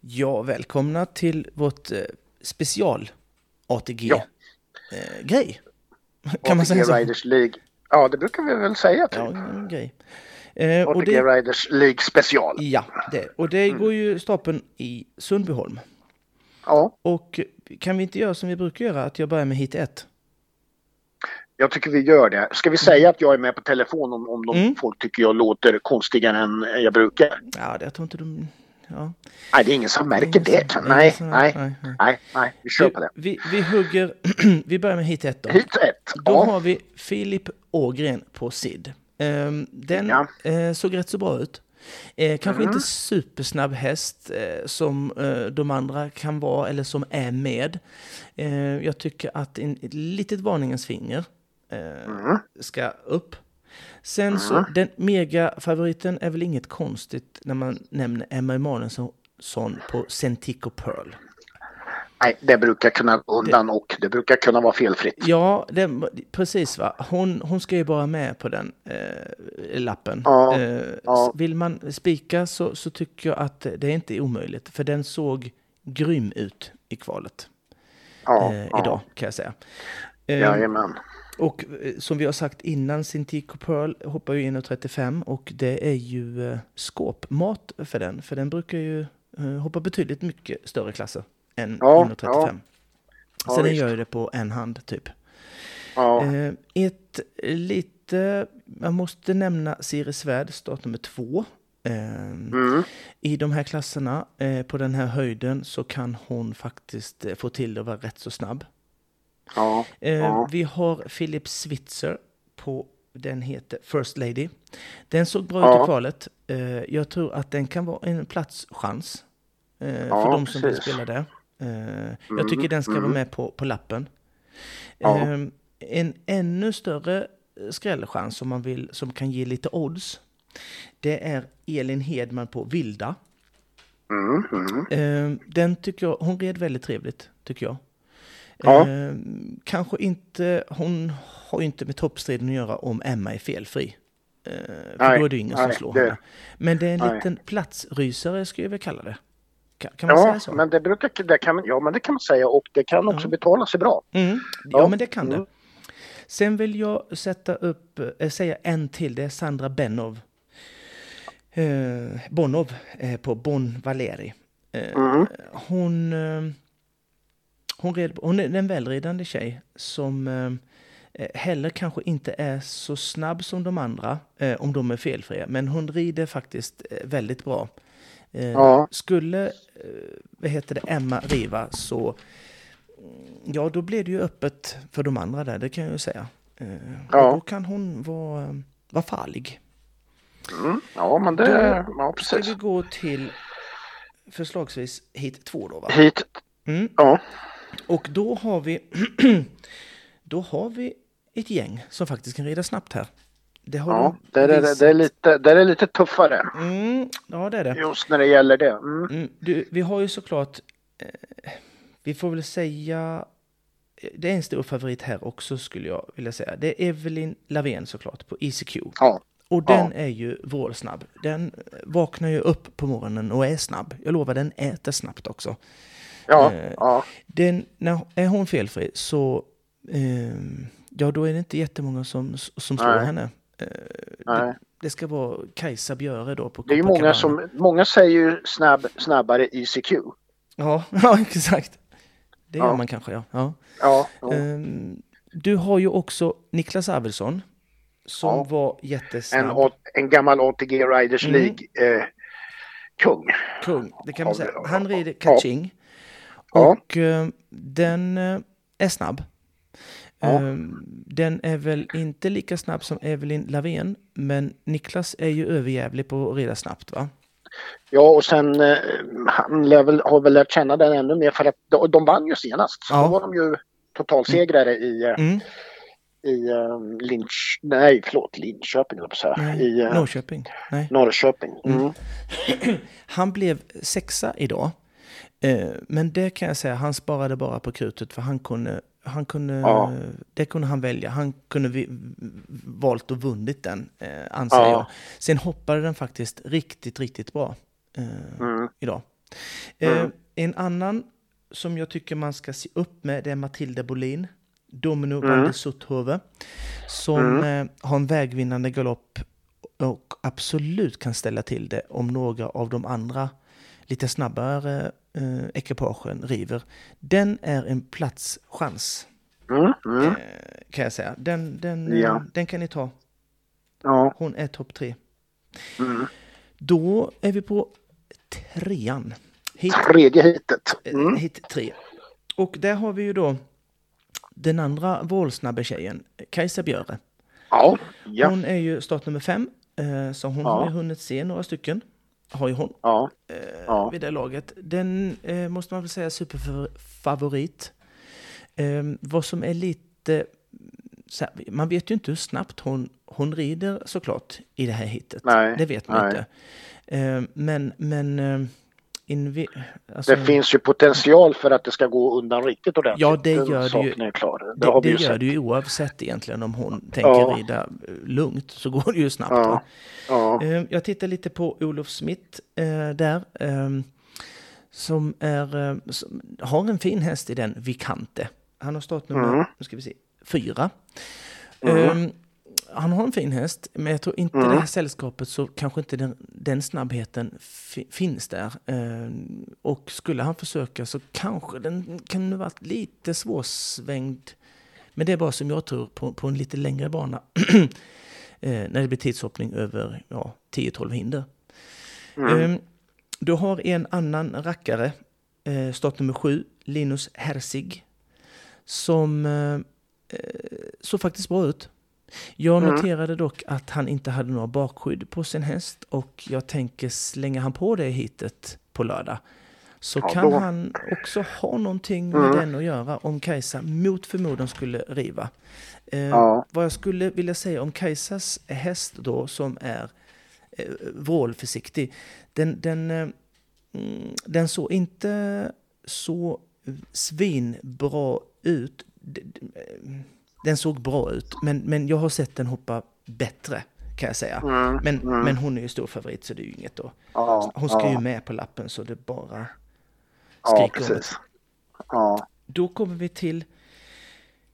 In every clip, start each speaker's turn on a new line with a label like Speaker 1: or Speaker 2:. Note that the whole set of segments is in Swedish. Speaker 1: Ja, välkomna till vårt eh, special
Speaker 2: Ja.
Speaker 1: ATG-grej. eh, kan man säga
Speaker 2: ATG
Speaker 1: så?
Speaker 2: Riders League. Ja, det brukar vi väl säga typ.
Speaker 1: Ja, en grej. Eh, och
Speaker 2: ATG
Speaker 1: det,
Speaker 2: Riders Mm. League special.
Speaker 1: ja, det. Och det går ju stapeln i Sundbyholm.
Speaker 2: Ja,
Speaker 1: Och kan vi inte göra som vi brukar göra, att jag börjar med hit 1?
Speaker 2: jag tycker vi gör det. Ska vi säga att jag är med på telefon om, om de
Speaker 1: Mm.
Speaker 2: folk tycker jag låter konstigare än jag brukar?
Speaker 1: Ja, det, jag tror inte de... Ja.
Speaker 2: Nej, det är ingen som märker
Speaker 1: Det är ingen
Speaker 2: det.
Speaker 1: som-
Speaker 2: Nej,
Speaker 1: det är ingen som-
Speaker 2: nej,
Speaker 1: nej, nej.
Speaker 2: nej, nej, vi kör på det.
Speaker 1: Vi, vi hugger... vi börjar med hit 1 då.
Speaker 2: Hit ett.
Speaker 1: Då
Speaker 2: Ja,
Speaker 1: har vi Filip Ågren på SID. Ehm, Den
Speaker 2: Ja. Mm.
Speaker 1: eh, såg rätt så bra ut. Eh, Kanske inte supersnabb häst eh, som eh, de andra kan vara eller som är med. Eh, Jag tycker att en, ett litet varningens finger eh,
Speaker 2: Mm.
Speaker 1: ska upp. Sen så, den megafavoriten är väl inget konstigt när man nämner Emma Emanuelsson på Centico Pearl.
Speaker 2: nej, det brukar kunna gå undan och det brukar kunna vara felfritt.
Speaker 1: Ja, det, precis va. Hon, hon ska ju bara med på den eh, lappen.
Speaker 2: Ja,
Speaker 1: Eh,
Speaker 2: ja.
Speaker 1: Vill man spika så, så tycker jag att det inte är omöjligt. För den såg grym ut i kvalet
Speaker 2: Ja,
Speaker 1: eh,
Speaker 2: ja.
Speaker 1: idag kan jag säga. Eh,
Speaker 2: Jajamän.
Speaker 1: och eh, som vi har sagt innan, Cintico Pearl hoppar ju in och 35 och det är ju eh, skåpmat för den. För den brukar ju eh, hoppa betydligt mycket större klasser än
Speaker 2: Ja,
Speaker 1: in och 35.
Speaker 2: ja. Ja,
Speaker 1: Så den
Speaker 2: visst.
Speaker 1: gör ju det på en hand typ.
Speaker 2: Ja,
Speaker 1: Eh, ett lite, man måste nämna Siri Svärd, startnummer två. Eh,
Speaker 2: Mm,
Speaker 1: I de här klasserna, eh, på den här höjden, så kan hon faktiskt eh, få till det och vara rätt så snabb.
Speaker 2: ja,
Speaker 1: Eh,
Speaker 2: ja.
Speaker 1: Vi har Philip Switzer på den heter First Lady. Den såg bra ut
Speaker 2: Ja.
Speaker 1: i kvalet. Eh, Jag tror att den kan vara en platschans eh,
Speaker 2: Ja,
Speaker 1: för de som vill
Speaker 2: precis. Mm,
Speaker 1: spela där. Eh, Jag tycker den ska vara med på, på lappen.
Speaker 2: Ja.
Speaker 1: Eh, En ännu större skrällchans som man vill, som kan ge lite odds, det är Elin Hedman på Vilda.
Speaker 2: Mm, mm.
Speaker 1: Eh, Den tycker jag, hon red väldigt trevligt, tycker jag.
Speaker 2: Ja.
Speaker 1: Eh, kanske inte, hon har ju inte med toppstriden att göra om Emma är felfri. Eh, för
Speaker 2: Nej,
Speaker 1: då är det ju ingen som
Speaker 2: nej,
Speaker 1: slår
Speaker 2: det-
Speaker 1: henne. Men det är en
Speaker 2: nej.
Speaker 1: liten platsrysare, skulle jag väl kalla det. Kan, kan man
Speaker 2: Ja,
Speaker 1: säga så?
Speaker 2: men det brukar, det kan, man- ja, men det kan man säga och det kan också betala sig bra.
Speaker 1: Mm. Ja,
Speaker 2: Ja.
Speaker 1: men det kan det.
Speaker 2: Mm.
Speaker 1: Sen vill jag sätta upp, eh, säga en till, det är Sandra Benov. Eh, Bonov eh, på Bon Valeri. Eh,
Speaker 2: Mm.
Speaker 1: Hon, eh, hon, red, hon är en välridande tjej som eh, heller kanske inte är så snabb som de andra, eh, om de är felfria. Men hon rider faktiskt eh, väldigt bra. Eh,
Speaker 2: Ja.
Speaker 1: Skulle, eh, vad heter det, Emma riva så mm, Ja, då blir det ju öppet för de andra där, det kan jag ju säga. Eh,
Speaker 2: Ja.
Speaker 1: och då kan hon vara, eh, vara farlig.
Speaker 2: Mm, ja, men det... Ja,
Speaker 1: Ska vi
Speaker 2: precis.
Speaker 1: gå till förslagsvis hit två då, va?
Speaker 2: Hit.
Speaker 1: Mm.
Speaker 2: Ja.
Speaker 1: Och då har vi, då har vi ett gäng som faktiskt kan rida snabbt här. Det har
Speaker 2: ja
Speaker 1: de
Speaker 2: där, är, det-
Speaker 1: visat.
Speaker 2: där, är lite, där är lite tuffare
Speaker 1: Mm, ja, det är det.
Speaker 2: just när det gäller det. Mm.
Speaker 1: Mm, du, vi har ju såklart, eh, vi får väl säga, eh, det är en stor favorit här också skulle jag vilja säga. Det är Evelyn Lavén såklart på ECQ.
Speaker 2: Ja.
Speaker 1: Och den är ju vrålsnabb. Den vaknar ju upp på morgonen och är snabb. Jag lovar, den äter snabbt också.
Speaker 2: Ja,
Speaker 1: Eh,
Speaker 2: ja,
Speaker 1: Den, när, är hon felfri så, eh, ja då är det inte jättemånga som, som slår
Speaker 2: Nej.
Speaker 1: henne. Eh,
Speaker 2: nej.
Speaker 1: det ska vara Kajsa Björe då på
Speaker 2: Det är ju många
Speaker 1: Copacabana.
Speaker 2: som... Många säger ju snabb, snabbare E ICQ.
Speaker 1: Ja, ja exakt. Det gör
Speaker 2: Ja.
Speaker 1: man kanske, ja. ja.
Speaker 2: Ja, ja.
Speaker 1: Ehm, du har ju också Niklas Arvidsson som
Speaker 2: Ja.
Speaker 1: var
Speaker 2: En,
Speaker 1: jättesnabb.
Speaker 2: å- en gammal ATG Riders
Speaker 1: Mm.
Speaker 2: League eh, kung.
Speaker 1: kung, det kan man säga.
Speaker 2: Ja.
Speaker 1: Han rider
Speaker 2: Ja.
Speaker 1: catching.
Speaker 2: Ja.
Speaker 1: Och eh, den eh, är snabb.
Speaker 2: Ja.
Speaker 1: Ehm, Den är väl inte lika snabb som Evelyn Lavén, men Niklas är ju överjävlig på att rida snabbt va?
Speaker 2: Ja, och sen eh, han lär väl, har väl lärt känna den ännu mer för att de, de vann ju senast. Så
Speaker 1: Ja.
Speaker 2: Då var de ju totalsegrare i, eh,
Speaker 1: Mm.
Speaker 2: i eh, Linch... Nej, förlåt, Linköping höll jag på att säga. I eh,
Speaker 1: Norrköping? Nej.
Speaker 2: Norrköping. Mm.
Speaker 1: Han blev sexa idag. Eh, Men det kan jag säga, han sparade bara på krutet för han kunde, han kunde,
Speaker 2: Ja.
Speaker 1: det kunde han välja. Han kunde vi, valt och vunnit den, eh, anser
Speaker 2: Ja. Mm.
Speaker 1: jag. Sen hoppade den faktiskt riktigt, riktigt bra eh, idag. Eh, En annan som jag tycker man ska se upp med det är Matilda Bolin, Domino mm. van de Soethove, som eh, har en vägvinnande galopp och absolut kan ställa till det om några av de andra lite snabbare eh, ekipagen river. Den är en platschans
Speaker 2: Mm. Mm.
Speaker 1: eh, kan jag säga. Den, den, eh,
Speaker 2: Ja.
Speaker 1: den kan ni ta.
Speaker 2: Ja.
Speaker 1: Hon är topp tre.
Speaker 2: Mm.
Speaker 1: eh, Då är vi på trean. Hit,
Speaker 2: Tredje heatet.
Speaker 1: eh,
Speaker 2: Mm.
Speaker 1: hit tre. Och där har vi ju då den andra vålsnabbe tjejen, Kajsa Björe.
Speaker 2: Ja. Ja.
Speaker 1: Hon är ju startnummer fem, eh, så hon
Speaker 2: Ja.
Speaker 1: har ju hunnit se några stycken. Har ju hon
Speaker 2: Ja.
Speaker 1: eh,
Speaker 2: Ja.
Speaker 1: vid det laget. Den eh, måste man väl säga superfavorit. Eh, vad som är lite... Så här, man vet ju inte hur snabbt hon, hon rider såklart i det här hittet.
Speaker 2: Nej,
Speaker 1: det vet man
Speaker 2: nej.
Speaker 1: inte. Eh, men... men eh, invi- alltså,
Speaker 2: Det finns ju potential för att det ska gå undan riktigt ordentligt.
Speaker 1: Ja, det gör det
Speaker 2: Den
Speaker 1: ju.
Speaker 2: saken är klar. Det,
Speaker 1: det,
Speaker 2: har
Speaker 1: det
Speaker 2: vi ju
Speaker 1: gör
Speaker 2: sett.
Speaker 1: det ju oavsett egentligen om hon tänker
Speaker 2: Ja.
Speaker 1: rida eh, lugnt så går det ju snabbt. va?
Speaker 2: Ja. Ja.
Speaker 1: Eh, Jag tittar lite på Olof Smith eh, där. eh, Som, är, eh, som har en fin häst i den, Vikante. Han har startnummer,
Speaker 2: Mm.
Speaker 1: nu ska vi se, fyra. Eh, Han har en fin häst, men jag tror inte det här sällskapet så kanske inte den, den snabbheten fi, finns där. Eh, Och skulle han försöka så kanske den kan vara lite svårsvängd. Men det är bara som jag tror på, på en lite längre bana. eh, när det blir tidshoppning över ja, 10-12 hinder.
Speaker 2: Mm.
Speaker 1: Eh, du har en annan rackare, eh, startnummer 7, Linus Herzig, som eh, eh, såg faktiskt bra ut. Jag
Speaker 2: Mm.
Speaker 1: noterade dock att han inte hade några bakskydd på sin häst och jag tänker slänga han på det hitet på lördag så
Speaker 2: Ja,
Speaker 1: kan
Speaker 2: då- Mm.
Speaker 1: han också ha någonting med den att göra om Kajsa mot förmodan skulle riva. Eh,
Speaker 2: Ja.
Speaker 1: Vad jag skulle vilja säga om Kajsas häst då som är eh, vrålförsiktig, den, den, eh, mm, den såg inte så svinbra ut. D- d- eh, Den såg bra ut, men, men jag har sett den hoppa bättre kan jag säga. Men, men hon är ju stor favorit så det är ju inget då.
Speaker 2: Mm, Ja.
Speaker 1: Hon ska
Speaker 2: ja.
Speaker 1: ju med på lappen så det bara
Speaker 2: Ja,
Speaker 1: skriker om det.
Speaker 2: precis. Ja,
Speaker 1: Då kommer vi till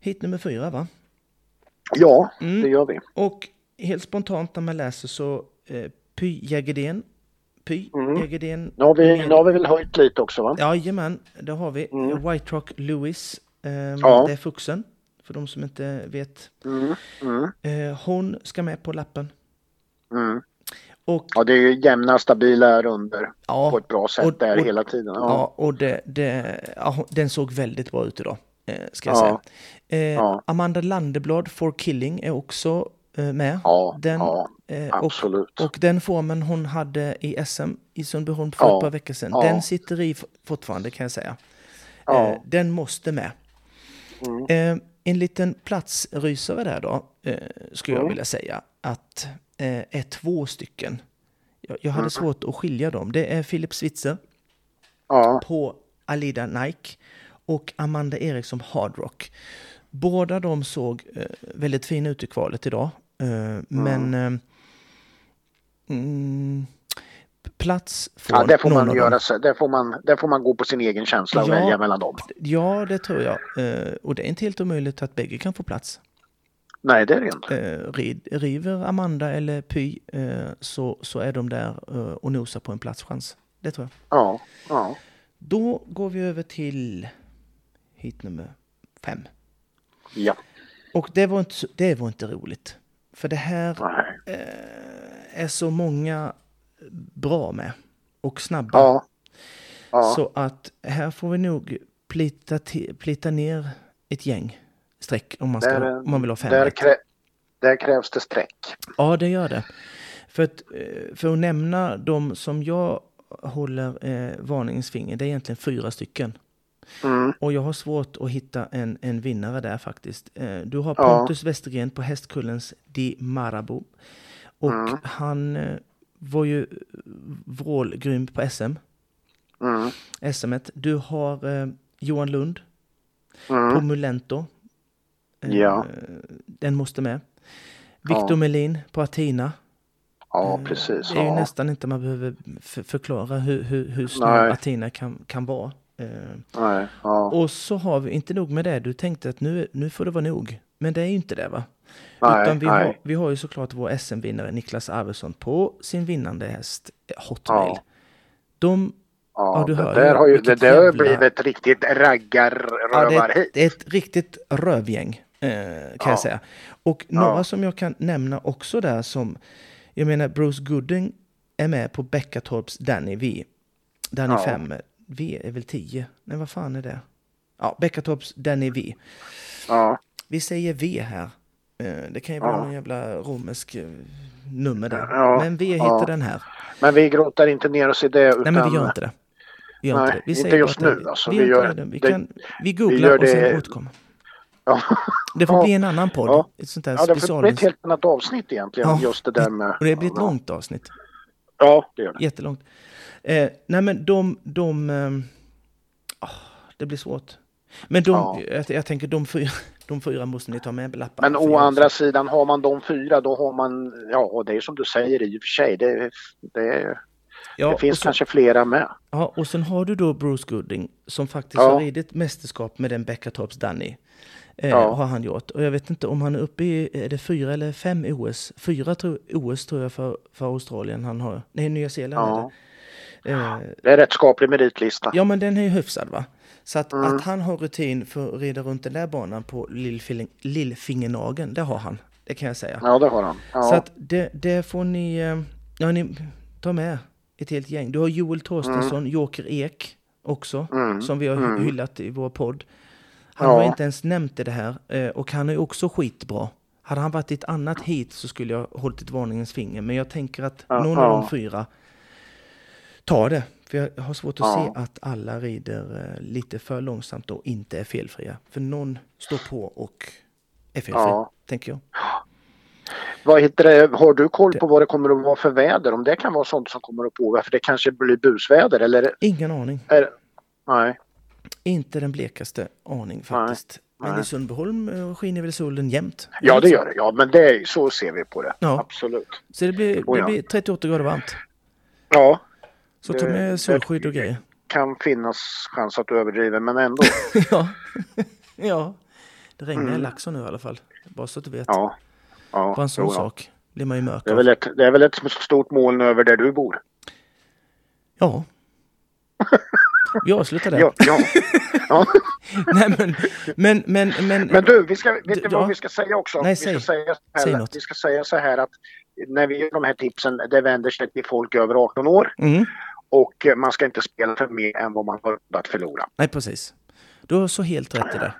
Speaker 1: hit nummer fyra va?
Speaker 2: ja
Speaker 1: Mm.
Speaker 2: det gör vi.
Speaker 1: Och helt spontant när man läser så eh, Py Jägerdén. Py Jägerdén. Mm.
Speaker 2: Mm. Nu har, vi, nu har vi väl höjt lite också va?
Speaker 1: Jajamän, det har vi. eh, White Rock Lewis. Eh,
Speaker 2: Mm. Ja.
Speaker 1: Det är fuxen. För de som inte vet.
Speaker 2: Mm, mm,
Speaker 1: Eh, hon ska med på lappen.
Speaker 2: mm.
Speaker 1: Och
Speaker 2: Ja, det är ju jämna stabila runder
Speaker 1: Ja,
Speaker 2: på ett bra sätt
Speaker 1: och-
Speaker 2: där
Speaker 1: och-
Speaker 2: hela tiden. Ja,
Speaker 1: Ja, och det, det, ja, hon- den såg väldigt bra ut idag, eh, ska jag
Speaker 2: Ja.
Speaker 1: säga. Eh,
Speaker 2: Ja.
Speaker 1: Amanda Landeblad, For Killing, är också eh, med.
Speaker 2: Ja,
Speaker 1: den,
Speaker 2: ja,
Speaker 1: eh,
Speaker 2: absolut.
Speaker 1: Och, och den formen hon hade i SM i Sundbyholm för
Speaker 2: Ja,
Speaker 1: ett par veckor sedan,
Speaker 2: ja.
Speaker 1: den sitter i f- fortfarande kan jag säga.
Speaker 2: Ja. Mm.
Speaker 1: Eh, den måste med. Eh, en liten platsrysare där då, eh, skulle
Speaker 2: Mm.
Speaker 1: jag vilja säga, att eh, är två stycken. Jag, jag hade
Speaker 2: Mm.
Speaker 1: svårt att skilja dem. Det är Filip Switzer
Speaker 2: ja,
Speaker 1: på Alida Nike och Amanda Eriksson Hard Rock. Båda de såg eh, väldigt fina ut i kvalet idag. Eh, Men eh, mm, plats får
Speaker 2: ja där, får
Speaker 1: någon
Speaker 2: man
Speaker 1: av
Speaker 2: göra
Speaker 1: dem.
Speaker 2: så, där, får man, där får man gå på sin egen känsla och
Speaker 1: Ja.
Speaker 2: välja mellan dem.
Speaker 1: Ja, det tror jag. Eh, och det är inte helt omöjligt att bägge kan få plats.
Speaker 2: Nej, det är det inte.
Speaker 1: Eh, rid, river Amanda eller Py eh, så, så är de där eh, och nosar på en platschans. Det tror jag.
Speaker 2: Ja, ja.
Speaker 1: Då går vi över till hit nummer fem.
Speaker 2: ja.
Speaker 1: Och det var inte, så- det var inte roligt. För det här eh,
Speaker 2: Nej.
Speaker 1: är så många bra med. Och snabba.
Speaker 2: ja. ja.
Speaker 1: Så att här får vi nog plita, ti- plita ner ett gäng streck om man, ska,
Speaker 2: Där är-
Speaker 1: om man vill ha fem
Speaker 2: Där,
Speaker 1: rätt.
Speaker 2: krä, där krävs det streck.
Speaker 1: Ja, det gör det. För att, eh, för att nämna de som jag håller eh, varningens finger, det är egentligen fyra stycken.
Speaker 2: Mm.
Speaker 1: Och jag har svårt att hitta en, en vinnare där faktiskt. Eh, Du har
Speaker 2: Ja.
Speaker 1: Pontus Westergren på Hästkullens Di Marabou. Och
Speaker 2: Mm.
Speaker 1: han eh, var ju vrålgrym på SM.
Speaker 2: Mm.
Speaker 1: SM -et. Du har eh, Johan Lund på
Speaker 2: Mm.
Speaker 1: Mulento. Eh,
Speaker 2: Ja.
Speaker 1: Den måste med. Victor
Speaker 2: Ja.
Speaker 1: Melin på Athena.
Speaker 2: Ja, precis.
Speaker 1: Det är ju
Speaker 2: ja.
Speaker 1: nästan inte man behöver f- förklara hur, hur, hur
Speaker 2: Nej.
Speaker 1: snäll Athena kan, kan vara. Eh,
Speaker 2: Nej, ja.
Speaker 1: Och så har vi, inte nog med det, du tänkte att nu, nu får det vara nog. Men det är ju inte det va?
Speaker 2: Nej,
Speaker 1: Utan vi,
Speaker 2: nej.
Speaker 1: Har, vi har ju såklart vår SM-vinnare Niklas Arvidsson på sin vinnande häst eh, Hotmail.
Speaker 2: Ja.
Speaker 1: De,
Speaker 2: Ja,
Speaker 1: ja, du
Speaker 2: det
Speaker 1: hör ju.
Speaker 2: där har ju det
Speaker 1: Vilket
Speaker 2: där har ju
Speaker 1: jävla-
Speaker 2: blivit ett riktigt
Speaker 1: ja, det, är
Speaker 2: raggarrövarhit.
Speaker 1: ett, det är ett riktigt rövgäng eh, kan
Speaker 2: Ja.
Speaker 1: jag säga. Och några
Speaker 2: Ja.
Speaker 1: som jag kan nämna också där som, jag menar Bruce Gooding är med på Bäckatorps Danny V. Danny
Speaker 2: Ja.
Speaker 1: 5, V är väl 10? Nej vad fan är det? Ja, Bäckatorps Danny V.
Speaker 2: Ja,
Speaker 1: Vi säger V här. Eh, Det kan ju vara
Speaker 2: Ja.
Speaker 1: någon jävla romersk eh, nummer där.
Speaker 2: Ja,
Speaker 1: Men vi hittar
Speaker 2: ja.
Speaker 1: den här.
Speaker 2: men vi grottar inte ner oss i det utan
Speaker 1: Nej, men vi gör inte det. Vi gör
Speaker 2: Nej,
Speaker 1: inte det. Vi
Speaker 2: inte
Speaker 1: säger
Speaker 2: just
Speaker 1: bara att
Speaker 2: nu,
Speaker 1: det-
Speaker 2: alltså.
Speaker 1: vi,
Speaker 2: Vi
Speaker 1: gör inte
Speaker 2: gör-
Speaker 1: det. vi,
Speaker 2: det-
Speaker 1: kan, vi
Speaker 2: vi
Speaker 1: googlar
Speaker 2: gör
Speaker 1: och sen
Speaker 2: det-
Speaker 1: återkommer.
Speaker 2: Ja,
Speaker 1: Det får
Speaker 2: Ja.
Speaker 1: bli en annan podd.
Speaker 2: Ja.
Speaker 1: Ett sånt här
Speaker 2: ja det får bli ett
Speaker 1: special.
Speaker 2: helt annat avsnitt egentligen.
Speaker 1: Ja,
Speaker 2: Just det där med...
Speaker 1: Och det blir ett långt avsnitt.
Speaker 2: Ja, det gör det.
Speaker 1: Jättelångt. Eh, nej, men de... de ehm, ah, det blir svårt. Men de,
Speaker 2: Ja.
Speaker 1: jag, jag tänker de fyra, de fyra måste ni ta med på lapparna.
Speaker 2: Men
Speaker 1: för
Speaker 2: å
Speaker 1: jag-
Speaker 2: andra sidan, har man de fyra då har man, ja det är som du säger i och för sig, det, det,
Speaker 1: Ja,
Speaker 2: det finns
Speaker 1: och så-
Speaker 2: kanske flera med.
Speaker 1: Ja, och sen har du då Bruce Gooding som faktiskt
Speaker 2: Ja.
Speaker 1: har ridit mästerskap med den Bäckatorps Danny. Eh,
Speaker 2: Ja.
Speaker 1: Har han gjort. Och jag vet inte om han är uppe i, är det fyra eller fem OS? Fyra tro, OS tror jag för, för Australien han har. Nej, Nya Zeeland är
Speaker 2: Ja,
Speaker 1: det. Eh,
Speaker 2: det är rätt skaplig meritlista.
Speaker 1: ja, men den är ju hyfsad va? Så att,
Speaker 2: Mm.
Speaker 1: att han har rutin för att rida runt den där banan på lillfing, lillfingernageln, det har han. Det kan jag säga.
Speaker 2: Ja, det har han. Ja.
Speaker 1: Så att det, det får ni, eh, ja ni tar med ett helt gäng. Du har Joel Torstensson,
Speaker 2: Mm.
Speaker 1: Joker Ek också, som vi har hy- hyllat i vår podd. Han
Speaker 2: Ja.
Speaker 1: har inte ens nämnt i det här eh, och han är också skitbra. Hade han varit i ett annat hit så skulle jag ha hållit ett varningens finger. Men jag tänker att
Speaker 2: Ja,
Speaker 1: någon av de
Speaker 2: ja.
Speaker 1: fyra tar det. För jag har svårt att
Speaker 2: Ja.
Speaker 1: se att alla rider eh, lite för långsamt och inte är felfria. För någon står på och är felfri,
Speaker 2: Ja.
Speaker 1: tänker jag.
Speaker 2: Vad heter det? Har du koll på vad det kommer att vara för väder? Om det kan vara sånt som kommer att påverka? För det kanske blir busväder eller?
Speaker 1: Ingen aning.
Speaker 2: Är... Nej.
Speaker 1: Inte den blekaste aning faktiskt. Men
Speaker 2: nej.
Speaker 1: i Sundbyholm eh, skiner väl solen jämt.
Speaker 2: Ja det gör det, ja men det är, så ser vi på det.
Speaker 1: Ja.
Speaker 2: Absolut.
Speaker 1: Så det blir,
Speaker 2: Oh,
Speaker 1: det
Speaker 2: ja.
Speaker 1: blir 38 grader varmt.
Speaker 2: Ja,
Speaker 1: Så ta
Speaker 2: Det-
Speaker 1: med solskydd och grejer.
Speaker 2: kan finnas chans att du överdriver men ändå.
Speaker 1: ja. ja. Det regnar i Laxå nu i alla fall. Bara så att du vet.
Speaker 2: Mm. Ja. ja.
Speaker 1: Bara en sån
Speaker 2: jo, ja.
Speaker 1: sak blir man ju mörk
Speaker 2: Det är,
Speaker 1: av.
Speaker 2: väl ett, det är väl ett stort moln över där du bor?
Speaker 1: Ja. Vi avslutar där.
Speaker 2: Ja. ja. ja.
Speaker 1: Nej, men, men, men, men,
Speaker 2: Men du, vi ska, vet du
Speaker 1: Ja.
Speaker 2: vad vi ska säga också?
Speaker 1: Nej,
Speaker 2: vi,
Speaker 1: säg.
Speaker 2: ska säga så här,
Speaker 1: Säg något.
Speaker 2: vi ska säga så här att när vi gör de här tipsen, det vänder sig till folk över 18 år
Speaker 1: Mm.
Speaker 2: och eh, man ska inte spela för mer än vad man har råd att förlora.
Speaker 1: Nej, precis. Du har så helt rätt i det.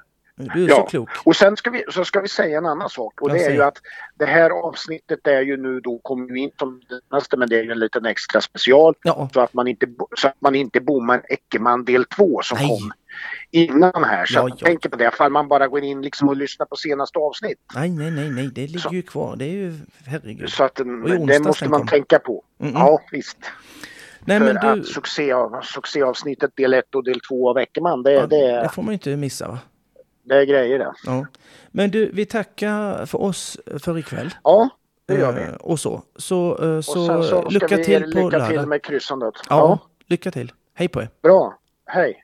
Speaker 1: Du är så klok.
Speaker 2: Och sen ska vi, så ska vi säga en annan sak och
Speaker 1: Ja,
Speaker 2: det är
Speaker 1: säg.
Speaker 2: ju att det här avsnittet är ju nu då, kommer ju in som det senaste, men det är ju en liten extra special
Speaker 1: Ja.
Speaker 2: så att man inte, bo- så att man inte bommar Eckerman del 2 som
Speaker 1: Nej.
Speaker 2: kom innan här. Så
Speaker 1: Ja,
Speaker 2: att
Speaker 1: ja.
Speaker 2: tänk på det, ifall man bara går in liksom och lyssnar på senaste avsnitt.
Speaker 1: Nej, nej, nej, nej. Det ligger
Speaker 2: Så-
Speaker 1: ju kvar. Det är ju... Herregud.
Speaker 2: Så att
Speaker 1: i
Speaker 2: mm, det
Speaker 1: onsdags
Speaker 2: måste
Speaker 1: den
Speaker 2: man
Speaker 1: kom.
Speaker 2: tänka på.
Speaker 1: Mm, mm.
Speaker 2: Ja, visst.
Speaker 1: Nej,
Speaker 2: För
Speaker 1: men du...
Speaker 2: att succé, succéavsnittet del 1 och del 2 av Eckermann, det,
Speaker 1: Ja,
Speaker 2: det,
Speaker 1: det
Speaker 2: är,
Speaker 1: får man ju inte missa va?
Speaker 2: det är grejer det.
Speaker 1: Ja. Men du, vi tackar för oss för ikväll.
Speaker 2: Ja, det gör vi.
Speaker 1: Eh, Och så. Så, eh,
Speaker 2: Och
Speaker 1: så,
Speaker 2: sen så
Speaker 1: eh,
Speaker 2: ska
Speaker 1: lycka
Speaker 2: vi
Speaker 1: till på
Speaker 2: lycka
Speaker 1: lördag.
Speaker 2: till med kryssandet.
Speaker 1: ja, lycka till. Hej på er.
Speaker 2: Bra, hej.